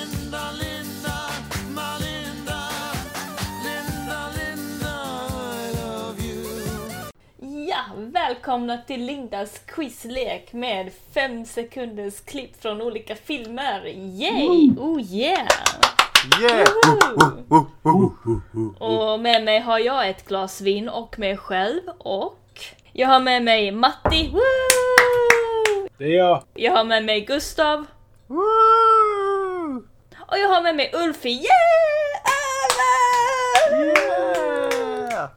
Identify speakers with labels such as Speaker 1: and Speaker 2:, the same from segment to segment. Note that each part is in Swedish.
Speaker 1: Linda, Linda, my Linda, Linda, Linda, I love you.
Speaker 2: Ja, välkomna till Lindas quizlek med fem sekunders klipp från olika filmer. Yay! Oh yeah!
Speaker 3: Yeah!
Speaker 2: Woohoo! Och med mig har jag ett glas vin och mig själv och jag har med mig Matti. Woo!
Speaker 4: Det är jag.
Speaker 2: Jag har med mig Gustav
Speaker 3: Woo!
Speaker 2: och jag har med mig Ulfi. Yeah!
Speaker 3: Yeah!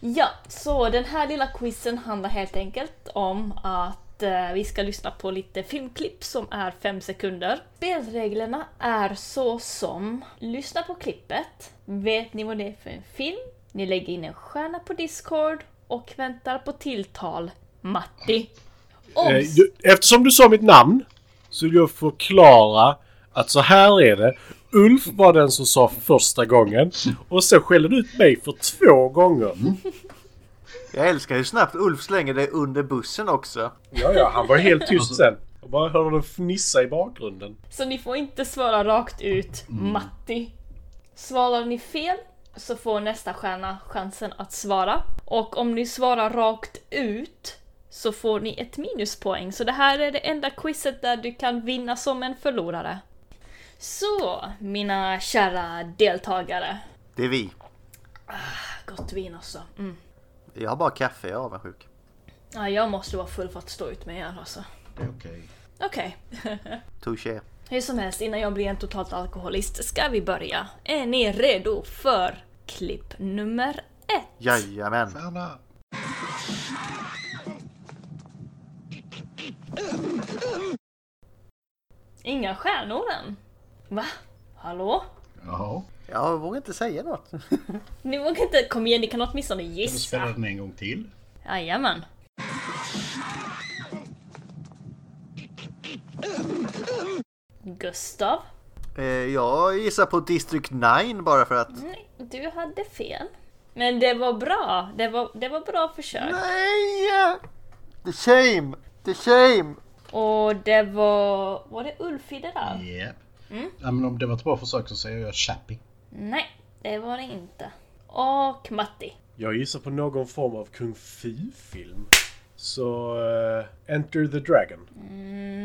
Speaker 2: Ja, så den här lilla quizen handlar helt enkelt om att eh, vi ska lyssna på lite filmklipp som är fem sekunder. Spelreglerna är så som, lyssna på klippet, vet ni vad det är för en film, ni lägger in en stjärna på Discord och väntar på tilltal, Matti. Om...
Speaker 4: Eh, ju- Eftersom du sa mitt namn så vill jag förklara att så här är det. Ulf var den som sa första gången och sen skällde du ut mig för två gånger.
Speaker 5: Mm.
Speaker 3: Jag älskar hur snabbt Ulf slänger dig under bussen också.
Speaker 4: Ja, ja, han var helt tyst sen. Jag bara hörde honom fnissa i bakgrunden.
Speaker 2: Så ni får inte svara rakt ut
Speaker 5: Mm.
Speaker 2: Matti. Svarar ni fel så får nästa stjärna chansen att svara. Och om ni svarar rakt ut så får ni ett minuspoäng. Så det här är det enda quizet där du kan vinna som en förlorare. Så, mina kära deltagare.
Speaker 3: Det är vi.
Speaker 2: Gott vin alltså. Mm.
Speaker 3: Jag har bara kaffe, jag är avundsjuk.
Speaker 2: Ja, jag måste vara full för att stå ut med er alltså.
Speaker 5: Det är okej.
Speaker 2: Okej.
Speaker 3: Touché.
Speaker 2: Hur som helst, innan jag blir en totalt alkoholist ska vi börja. Är ni redo för klipp nummer ett?
Speaker 3: Jajamän.
Speaker 5: Stjärna!
Speaker 2: Inga stjärnor än. Va? Hallå?
Speaker 5: Ja.
Speaker 3: Jag vågar inte säga något.
Speaker 2: Ni vågar inte... Kom igen, ni kan åtminstone
Speaker 5: Kan du spela
Speaker 2: gissa.
Speaker 5: den en gång till?
Speaker 2: Jajamän. Gustav?
Speaker 3: Eh, Jag gissar på District 9 bara för att...
Speaker 2: Nej, du hade fel. Men det var bra. Det var, det var bra försök.
Speaker 3: Nej! The shame! The shame!
Speaker 2: Och det var... Var det Ulf i det där?
Speaker 5: Japp. Ja, men om det var ett bra försök så säger jag Chappie.
Speaker 2: Nej, det var det inte. Och Matti.
Speaker 4: Jag gissar på någon form av kung fu-film. Så... eh, Enter the Dragon.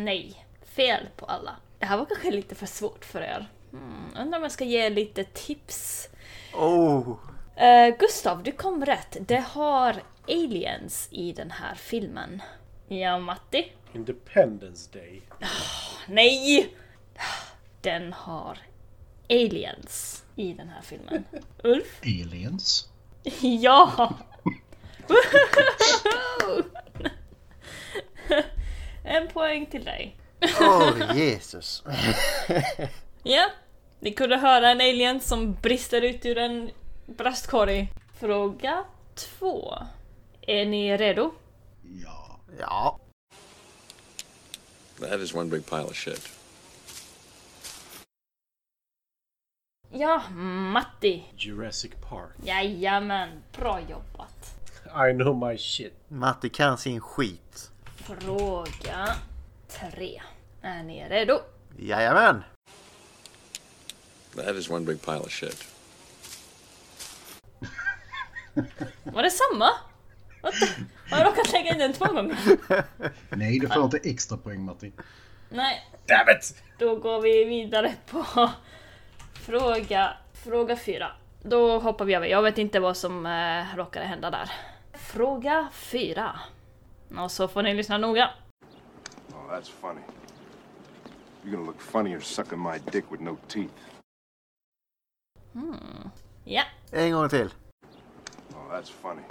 Speaker 2: Nej, fel på alla. Det här var kanske lite för svårt för er. Hmm, undrar om jag ska ge lite tips.
Speaker 3: Oh!
Speaker 2: Eh, Gustav, du kom rätt. Det har aliens i den här filmen. Ja, Matti?
Speaker 4: Independence Day.
Speaker 2: Nej! Den har aliens i den här filmen. Ulf?
Speaker 5: Aliens.
Speaker 2: Ja! en poäng till dig.
Speaker 3: Oh Jesus!
Speaker 2: Ja, ni kunde höra en alien som brister ut ur en bröstkorg. Fråga två. Är ni redo?
Speaker 5: Ja.
Speaker 3: Ja,
Speaker 6: That is one big pile of shit.
Speaker 2: Ja, Matti.
Speaker 4: Jurassic Park.
Speaker 2: Jajamän, bra jobbat.
Speaker 4: I know my shit.
Speaker 3: Matti kan sin skit.
Speaker 2: Fråga tre. Är ni redo?
Speaker 3: Jajamän!
Speaker 6: That is one big pile of shit.
Speaker 2: Var det samma? What the- Har jag råkat lägga in den två gånger?
Speaker 5: Nej, du får inte extra poäng Matti.
Speaker 2: Nej,
Speaker 4: Damn it!
Speaker 2: Då går vi vidare på fråga, fråga fyra. Då hoppar vi över. Jag vet inte vad som eh, råkade hända där. Fråga fyra. Och så får ni lyssna noga.
Speaker 7: Oh, that's funny. You're gonna look funnier sucking my dick with no teeth.
Speaker 2: Ja,
Speaker 3: En gång till.
Speaker 7: Oh, that's funny.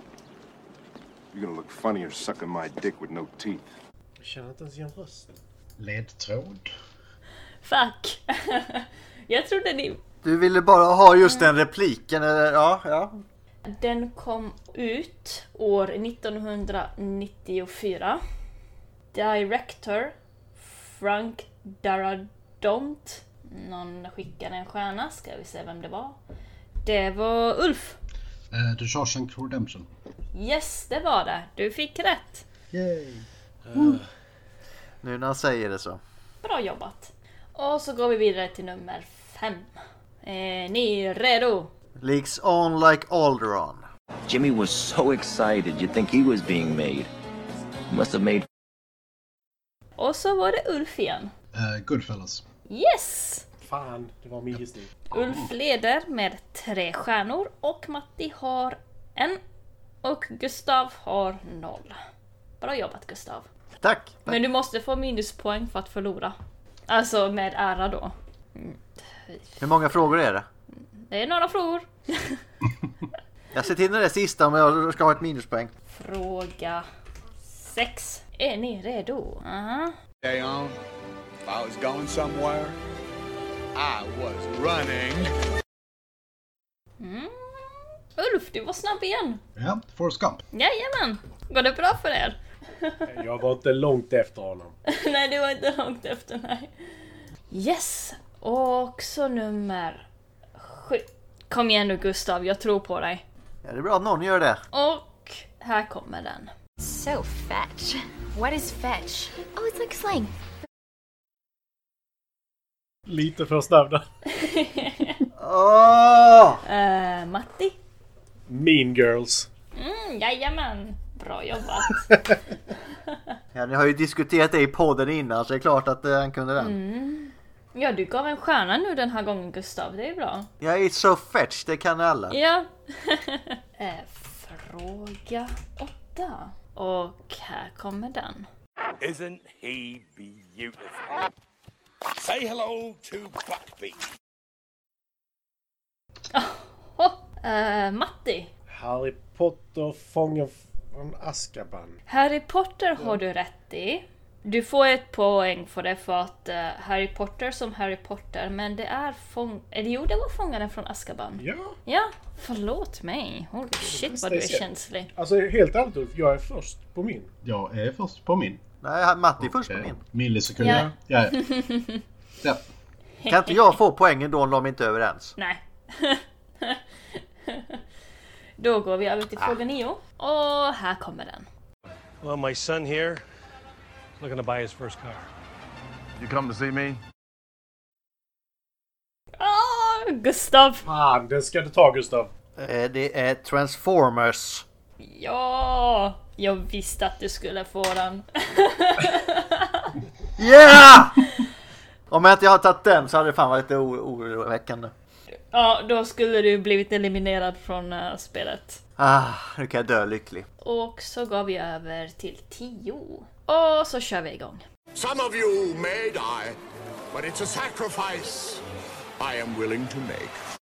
Speaker 7: You're gonna look funnier sucking my dick with no teeth.
Speaker 4: Jag känner inte ens igen rösten.
Speaker 5: Ledtråd.
Speaker 2: fuck. Jag trodde ni...
Speaker 3: Du ville bara ha just den repliken, eller? Ja, ja.
Speaker 2: Den kom ut år 1994. Director Frank Darabont. Någon skickade en stjärna, ska vi se vem det var. Det var Ulf.
Speaker 5: Eh, The Shawshank Redemption.
Speaker 2: Yes, det var det. Du fick rätt.
Speaker 5: Yay.
Speaker 3: Nu när han säger det så.
Speaker 2: Bra jobbat. Och så går vi vidare till nummer fem. Är ni redo?
Speaker 3: Leaks on like Alderon.
Speaker 8: Jimmy was so excited, you'd think he was being made. Must have made
Speaker 2: Och så var det Ulf igen.
Speaker 5: Eh, Goodfellas.
Speaker 2: Yes!
Speaker 4: Fan, det var min gissning.
Speaker 2: Ulf leder med tre stjärnor och Matti har en. Och Gustav har noll. Bra jobbat Gustav.
Speaker 3: Tack! tack.
Speaker 2: Men du måste få minuspoäng för att förlora. Alltså med ära då.
Speaker 3: Hur många frågor är det?
Speaker 2: Det är några frågor.
Speaker 3: Jag ser till när det är sista om jag ska ha ett minuspoäng.
Speaker 2: Fråga 6. Är ni redo? Aha.
Speaker 9: day on, if I was going somewhere, I was running.
Speaker 2: Mm. Ulf, du var snabb igen.
Speaker 5: Ja, Forrest Gump.
Speaker 2: Jajamän. Går det bra för er?
Speaker 4: Jag var inte långt efter honom.
Speaker 2: nej, det var inte långt efter, nej. Yes! Och så nummer 7. Kom igen nu Gustav, jag tror på dig.
Speaker 3: Ja, det är bra att någon gör det.
Speaker 2: Och här kommer den.
Speaker 10: So fetch. What is fetch? Oh, it's like slang.
Speaker 4: Lite för snabb där.
Speaker 3: Åh!
Speaker 2: Eh, Matti?
Speaker 4: Mean Girls.
Speaker 2: Mm, jajamän. Bra jobbat.
Speaker 3: Ja, ni har ju diskuterat det i podden innan så det är klart att eh, han kunde den.
Speaker 2: Ja, du gav en stjärna nu den här gången Gustav, det är bra.
Speaker 3: Ja, it's so fetch, det kan alla.
Speaker 2: Ja. eh, fråga åtta. Och här kommer den.
Speaker 9: Isn't he beautiful? Say hello to Buckbeak.
Speaker 2: Oh, eh, Matti,
Speaker 4: Harry Potter, fången från Azkaban.
Speaker 2: Harry Potter har du rätt i. Du får ett poäng för det för att eh, Harry Potter som Harry Potter, men det är fång... Eller jo, det var fångaren från Azkaban.
Speaker 4: Ja,
Speaker 2: Ja, förlåt mig. Holy shit vad du är
Speaker 4: Stacia.
Speaker 2: känslig.
Speaker 4: alltså helt ärligt Ulf, jag är först på min.
Speaker 5: Jag är först på min.
Speaker 3: Nej, han- Matti är först på
Speaker 5: Okej.
Speaker 3: min.
Speaker 5: Millisekunder. Ja, ja. ja.
Speaker 3: Kan inte jag få poängen då om de inte är överens?
Speaker 2: Nej. Då går vi över till fråga nio. Och här kommer den.
Speaker 11: Well, my son here, looking to buy his first car.
Speaker 7: You come to see me?
Speaker 2: Ah, Gustav!
Speaker 4: Fan, den ska du ta Gustav.
Speaker 3: Eh, Det är Transformers.
Speaker 2: Ja! Jag visste att du skulle få den.
Speaker 3: Yeah! Om jag inte hade tagit den så hade det fan varit lite o- oroväckande.
Speaker 2: Ja, då skulle du blivit eliminerad från eh, spelet.
Speaker 3: Ah, nu kan jag dö lycklig.
Speaker 2: Och så går vi över till 10. Och så kör vi igång.
Speaker 9: Some of you may die, but it's a sacrifice I am willing to make.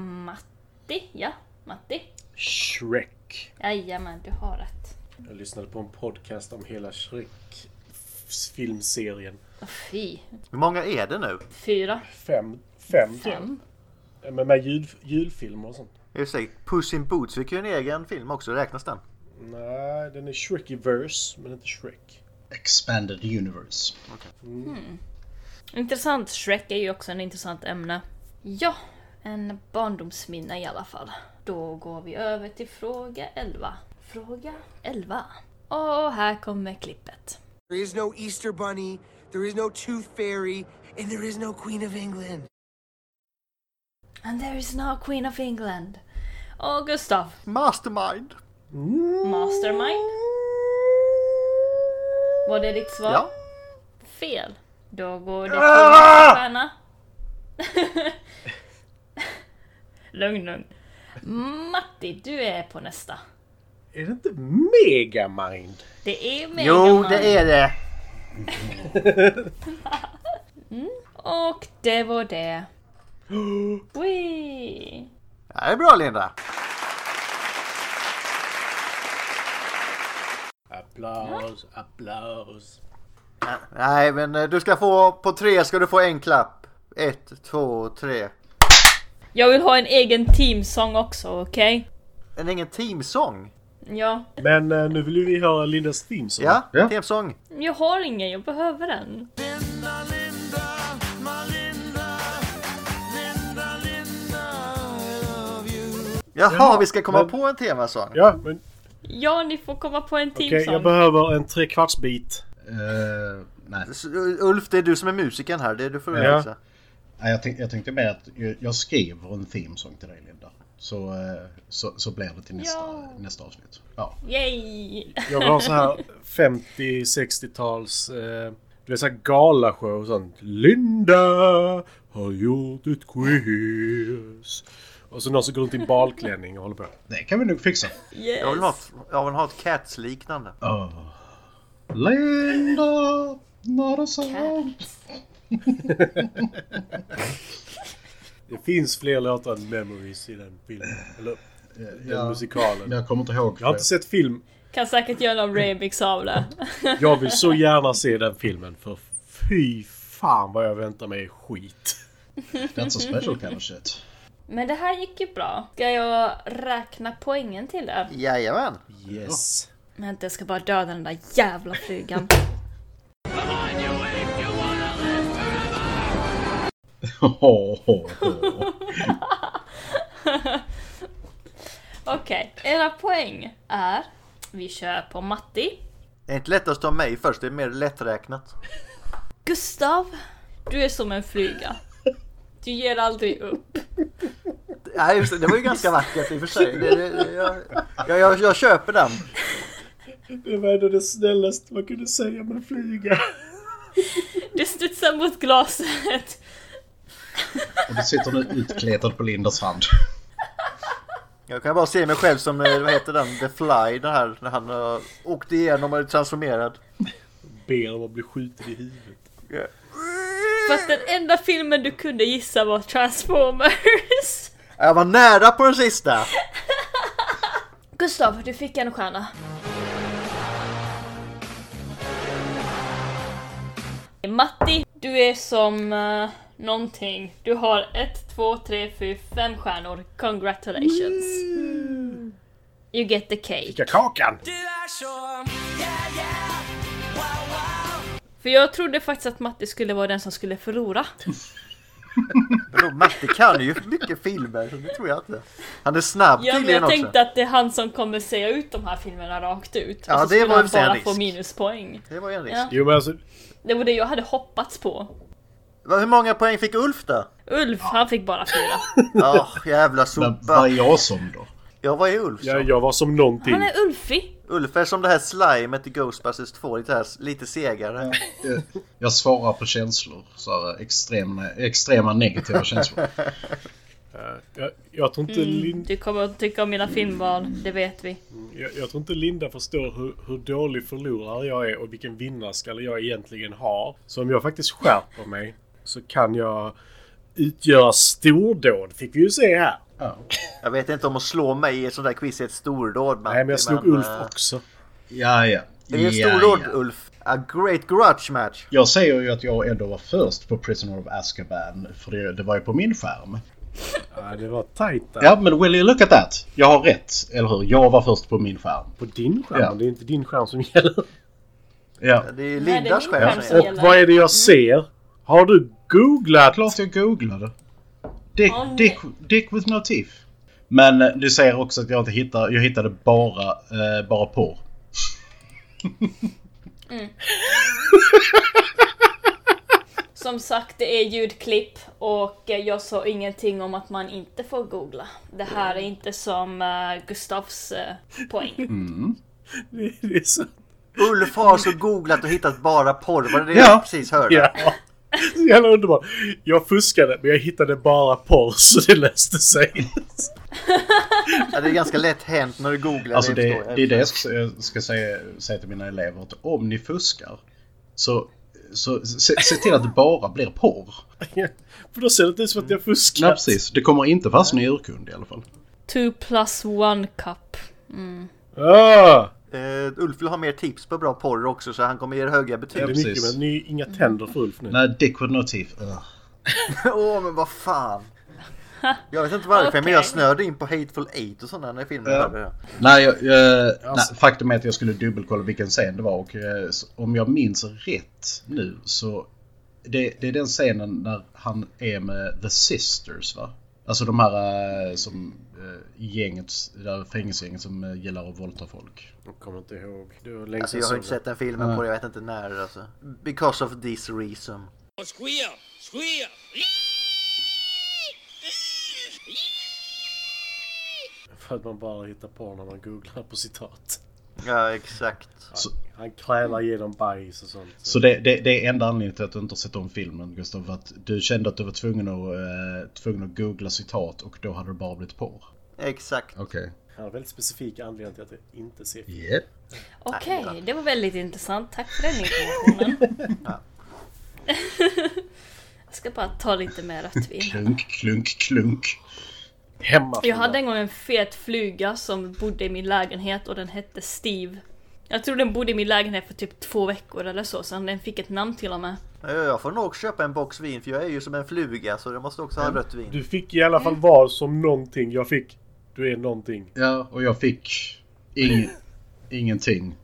Speaker 2: Matti, ja, Matti.
Speaker 4: Shrek.
Speaker 2: Jajamän, du har rätt.
Speaker 4: Jag lyssnade på en podcast om hela Shrek-filmserien.
Speaker 2: Åh, Fy.
Speaker 3: Hur många är det nu?
Speaker 2: Fyra.
Speaker 4: Fem. Fem.
Speaker 2: Fem.
Speaker 4: Men med jul, julfilmer och sånt.
Speaker 3: Just det, Puss in Boots fick ju en egen film också, räknas den?
Speaker 4: Nej, den är Shrekiverse, men inte Shrek.
Speaker 5: Expanded Universe.
Speaker 2: Intressant. Shrek är ju också en intressant ämne. Ja, en barndomsminne i alla fall. Då går vi över till fråga 11. Fråga 11. Och här kommer klippet.
Speaker 1: There is no Easter Bunny, there is no Tooth Fairy, and there is no Queen of England.
Speaker 2: And there is no Queen of England. Och Gustav,
Speaker 3: Mastermind!
Speaker 2: Mastermind. Var det ditt svar?
Speaker 3: Ja.
Speaker 2: Fel. Då går det
Speaker 3: Ah!
Speaker 2: till stjärna. lugn, lugn. Matti, du är på nästa.
Speaker 4: Är det inte Megamind?
Speaker 2: Det är
Speaker 3: Jo,
Speaker 2: Megamind.
Speaker 3: det är det!
Speaker 2: Och det var det. Wee.
Speaker 3: Ja, det är bra Linda!
Speaker 4: Applaus, applaus.
Speaker 3: Ja, Nej, men eh, du ska få, på tre ska du få en klapp. Ett, två, tre.
Speaker 2: Jag vill ha en egen teamsång också, okej?
Speaker 3: En egen teamsång?
Speaker 2: Ja.
Speaker 4: Men eh, nu vill ju vi höra Lindas Thimson.
Speaker 3: Ja,
Speaker 5: Ja.
Speaker 3: teamsång.
Speaker 2: Jag har ingen, jag behöver den.
Speaker 1: Linda, Linda, my Linda, Linda, Linda, I love you.
Speaker 3: Jaha,
Speaker 4: Jaha,
Speaker 3: vi ska komma
Speaker 4: men-
Speaker 3: på en temasång.
Speaker 4: Ja, men
Speaker 2: Ja, ni får komma på en
Speaker 4: okej,
Speaker 2: teamsång.
Speaker 4: jag behöver en trekvartsbit.
Speaker 5: Eh, nej.
Speaker 3: S- Ulf, det är du som är musikern här. Det är du får
Speaker 5: Ja.
Speaker 3: visa.
Speaker 5: nej jag, tänk, jag tänkte mer att jag, jag skriver en themesång till dig Linda. Så, eh, så, så blir det till nästa, nästa avsnitt. Ja.
Speaker 2: Yay!
Speaker 4: Jag vill ha så här 50-60-tals... Eh, du vet såhär galashow och sånt. Linda har gjort ett quiz. Och så någon som går runt i en balklänning och håller på.
Speaker 5: Det kan vi nog fixa.
Speaker 2: Yes.
Speaker 3: Jag, vill ha, ett- jag vill ha ett Cats-liknande.
Speaker 5: Oh. Linda, not a song.
Speaker 4: Det finns fler låtar än Memories i den filmen. Eller den
Speaker 5: Ja.
Speaker 4: musikalen.
Speaker 5: Jag kommer inte ihåg.
Speaker 4: Jag har inte sett film.
Speaker 2: Kan säkert göra någon remix av det.
Speaker 4: Jag vill så gärna se den filmen för fy fan vad jag väntar mig skit.
Speaker 5: That's a special kind of shit.
Speaker 2: Men det här gick ju bra. Ska jag räkna poängen till det?
Speaker 3: Jajamän.
Speaker 4: Yes.
Speaker 2: Vänta, jag ska bara döda den där jävla flugan.
Speaker 5: Oh, oh, oh.
Speaker 2: Okej, era poäng är... Vi kör på Matti.
Speaker 3: Det är inte lättast av mig först. Det är mer lätträknat.
Speaker 2: Gustav, du är som en fluga. Du ger aldrig upp.
Speaker 3: Nej, just det. Det var ju ganska vackert i och för sig. Det, det, jag, jag, jag, jag köper den.
Speaker 4: Det var ändå det snällaste man kunde säga om en flyga.
Speaker 2: Du studsar mot glaset.
Speaker 5: Och det sitter nu utkletad på Lindas hand.
Speaker 3: Jag kan bara se mig själv som, eh, vad heter den, The Fly, den här, när han har åkt igenom och är transformerad.
Speaker 4: Ber om att bli skjuten i huvudet.
Speaker 2: För att den enda filmen du kunde gissa var Transformers.
Speaker 3: Jag var nära på den sista!
Speaker 2: Gustav, du fick en stjärna. Matti, du är som uh, någonting. Du har ett, två, tre, fyra, fem stjärnor. Congratulations! You get the cake.
Speaker 4: Vilka kakan!
Speaker 2: För jag trodde faktiskt att Matti skulle vara den som skulle förlora.
Speaker 3: Men då, Matti kan ju mycket filmer, så det tror jag inte. Han är snabb
Speaker 2: Ja, men
Speaker 3: tydligen
Speaker 2: jag
Speaker 3: också.
Speaker 2: tänkte att det är han som kommer säga ut de här filmerna rakt ut.
Speaker 3: Ja,
Speaker 2: och så
Speaker 3: det
Speaker 2: skulle
Speaker 3: var
Speaker 2: han
Speaker 3: i och för sig en
Speaker 2: bara
Speaker 3: risk.
Speaker 2: få minuspoäng.
Speaker 3: Det var ju en risk.
Speaker 2: Ja.
Speaker 4: Jo men alltså,
Speaker 2: Det var det jag hade hoppats på.
Speaker 3: Va, Hur många poäng fick Ulf då?
Speaker 2: Ulf, han fick bara fyra.
Speaker 3: Ja, jävla
Speaker 5: Men vad
Speaker 3: sopa.
Speaker 5: är jag som då?
Speaker 3: Jag var ju Ulf. så.
Speaker 4: jag, jag var som någonting.
Speaker 2: Han är Ulfig!
Speaker 3: Ulf är som det här slimet i Ghostbusters 2, lite, här, lite segare.
Speaker 5: Jag, jag svarar på känslor. Så här, extrema, extrema negativa känslor.
Speaker 4: Jag, jag, tror inte Lin,
Speaker 2: Du kommer att tycka om mina filmval, det vet vi.
Speaker 4: jag, jag tror inte Linda förstår hur, hur dålig förlorare jag är och vilken vinnarskalle jag egentligen har. Så om jag faktiskt skärper mig så kan jag utgöra stordåd, fick vi ju se här.
Speaker 5: Ja.
Speaker 3: Jag vet inte om att slå mig i ett sånt där quiz är ett stordåd Matti,
Speaker 4: Nej men jag slog
Speaker 3: men,
Speaker 4: Ulf
Speaker 3: eh,
Speaker 4: också.
Speaker 5: Ja, ja.
Speaker 3: Det är ett
Speaker 5: Ja,
Speaker 3: stordåd
Speaker 5: ja.
Speaker 3: Ulf. A great grudge match.
Speaker 5: Jag säger ju att jag ändå var först på Prisoner of Azkaban. För det, det var ju på min skärm.
Speaker 4: Ja, det var tajt där.
Speaker 5: Ja, men will you look at that? Jag har rätt, eller hur? Jag var först på min skärm.
Speaker 4: På din skärm,
Speaker 5: Ja.
Speaker 4: det är inte din skärm som gäller.
Speaker 5: Ja.
Speaker 3: Det är
Speaker 2: det är
Speaker 3: Lindas
Speaker 2: min
Speaker 3: skämt.
Speaker 2: skärm
Speaker 3: som
Speaker 2: som
Speaker 3: gäller.
Speaker 4: Och vad är det jag ser? Har du googlat?
Speaker 5: Klart jag googlade. Dick,
Speaker 2: Åh, nej.
Speaker 5: dick, dick with no teeth. Men eh, du säger också att jag inte hittar, jag hittade bara, eh, bara porr.
Speaker 2: Som sagt, det är ljudklipp och eh, jag sa ingenting om att man inte får googla. Det här är inte som eh, Gustavs eh, poäng.
Speaker 4: Det det är så...
Speaker 3: Ulf har så googlat och hittat bara porr. Var det det
Speaker 5: Ja.
Speaker 3: jag precis hörde?
Speaker 4: Ja. Så jävla underbart. Jag fuskade men jag hittade bara porr så det löste sig.
Speaker 3: Ja, det är ganska lätt hänt när du googlar.
Speaker 5: Alltså
Speaker 3: förstår
Speaker 5: det,
Speaker 3: jag.
Speaker 5: det är det jag ska, jag ska säga, säga till mina elever. Att om ni fuskar så, så se, se till att det bara blir porr.
Speaker 4: För då ser det inte ut som att jag fuskat.
Speaker 5: Nej, precis. Det kommer inte fastna i urkund i alla fall.
Speaker 2: Two plus one cup.
Speaker 4: Ah,
Speaker 3: Eh, Ulf vill ha mer tips på bra porr också så han kommer ge er höga
Speaker 4: det
Speaker 3: betyg.
Speaker 4: är
Speaker 5: precis.
Speaker 4: mycket men ni är inga tänder för Ulf nu.
Speaker 5: Nej, dick with no teeth. Ugh.
Speaker 3: Åh men vad fan. Jag vet inte varför men jag
Speaker 2: Okej.
Speaker 3: snörde in på Hateful Eight och sådana Alltså, när filmen
Speaker 5: Ja.
Speaker 3: hörde det.
Speaker 5: Nej, jag, jag,
Speaker 4: Alltså-
Speaker 5: nej, faktum är att jag skulle dubbelkolla vilken scen det var och eh, s- om jag minns rätt nu så det, det är den scenen när han är med The Sisters va? Alltså de här eh, som eh, gänget, det där fängelsegänget som eh, gillar att våldta folk.
Speaker 4: Jag kommer inte ihåg. Det var länge
Speaker 3: Alltså, jag har inte sett den filmen
Speaker 5: Nej.
Speaker 3: på det, jag vet inte när alltså. Because of this reason.
Speaker 12: Squeal! Squeal!
Speaker 4: För att man bara hittar på när man googlar på citat.
Speaker 3: Ja, exakt.
Speaker 4: Han krälar genom bajs och sånt.
Speaker 5: Så det, det, det är enda anledningen till att du inte har sett om filmen Gustav. för Att du kände att du var tvungen att, eh, tvungen att googla citat och då hade det bara blivit porr.
Speaker 3: Exakt.
Speaker 5: Okej.
Speaker 4: Han har väldigt specifika anledningar till att jag inte ser film.
Speaker 5: Yep.
Speaker 2: Okej, det var väldigt intressant. Tack för den informationen. jag ska bara ta lite mer rödvin.
Speaker 5: Klunk, klunk, klunk.
Speaker 4: Hemma.
Speaker 2: Jag hade en gång en fet fluga som bodde i min lägenhet och den hette Steve. Jag tror den bodde i min lägenhet för typ två veckor eller så, sen den fick ett namn till och med.
Speaker 3: Ja, Jag får nog köpa en box vin för jag är ju som en fluga så jag måste också ha rött vin.
Speaker 4: Du fick i alla fall var som någonting. Jag fick... Du är någonting.
Speaker 5: Ja, och jag fick ing, ingenting.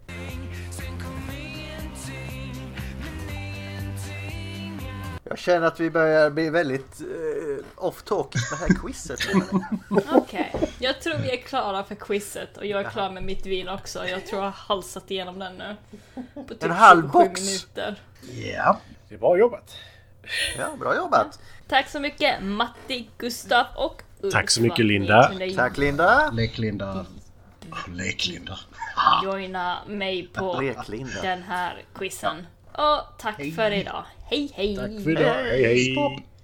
Speaker 3: Jag känner att vi börjar bli väldigt eh, off topic med det här quizet.
Speaker 2: Okej, jag tror vi är klara för quizet och jag är klar med mitt vin också. Jag tror jag har halsat igenom den nu. På typ
Speaker 3: En halv
Speaker 2: 27
Speaker 3: box.
Speaker 2: minuter.
Speaker 5: Ja.
Speaker 4: Det är bra jobbat.
Speaker 3: Ja, bra jobbat.
Speaker 2: Tack så mycket Matti, Gustav och Ulf.
Speaker 4: Tack så mycket, Linda.
Speaker 2: Ni kunde
Speaker 3: Tack Linda.
Speaker 5: Lek Linda. Lek Linda.
Speaker 2: Joina mig på
Speaker 3: Lek, Linda.
Speaker 2: den här quizen. Och tack för idag. Hej hej!
Speaker 4: Tack för idag. Hej hej.
Speaker 5: Stopp.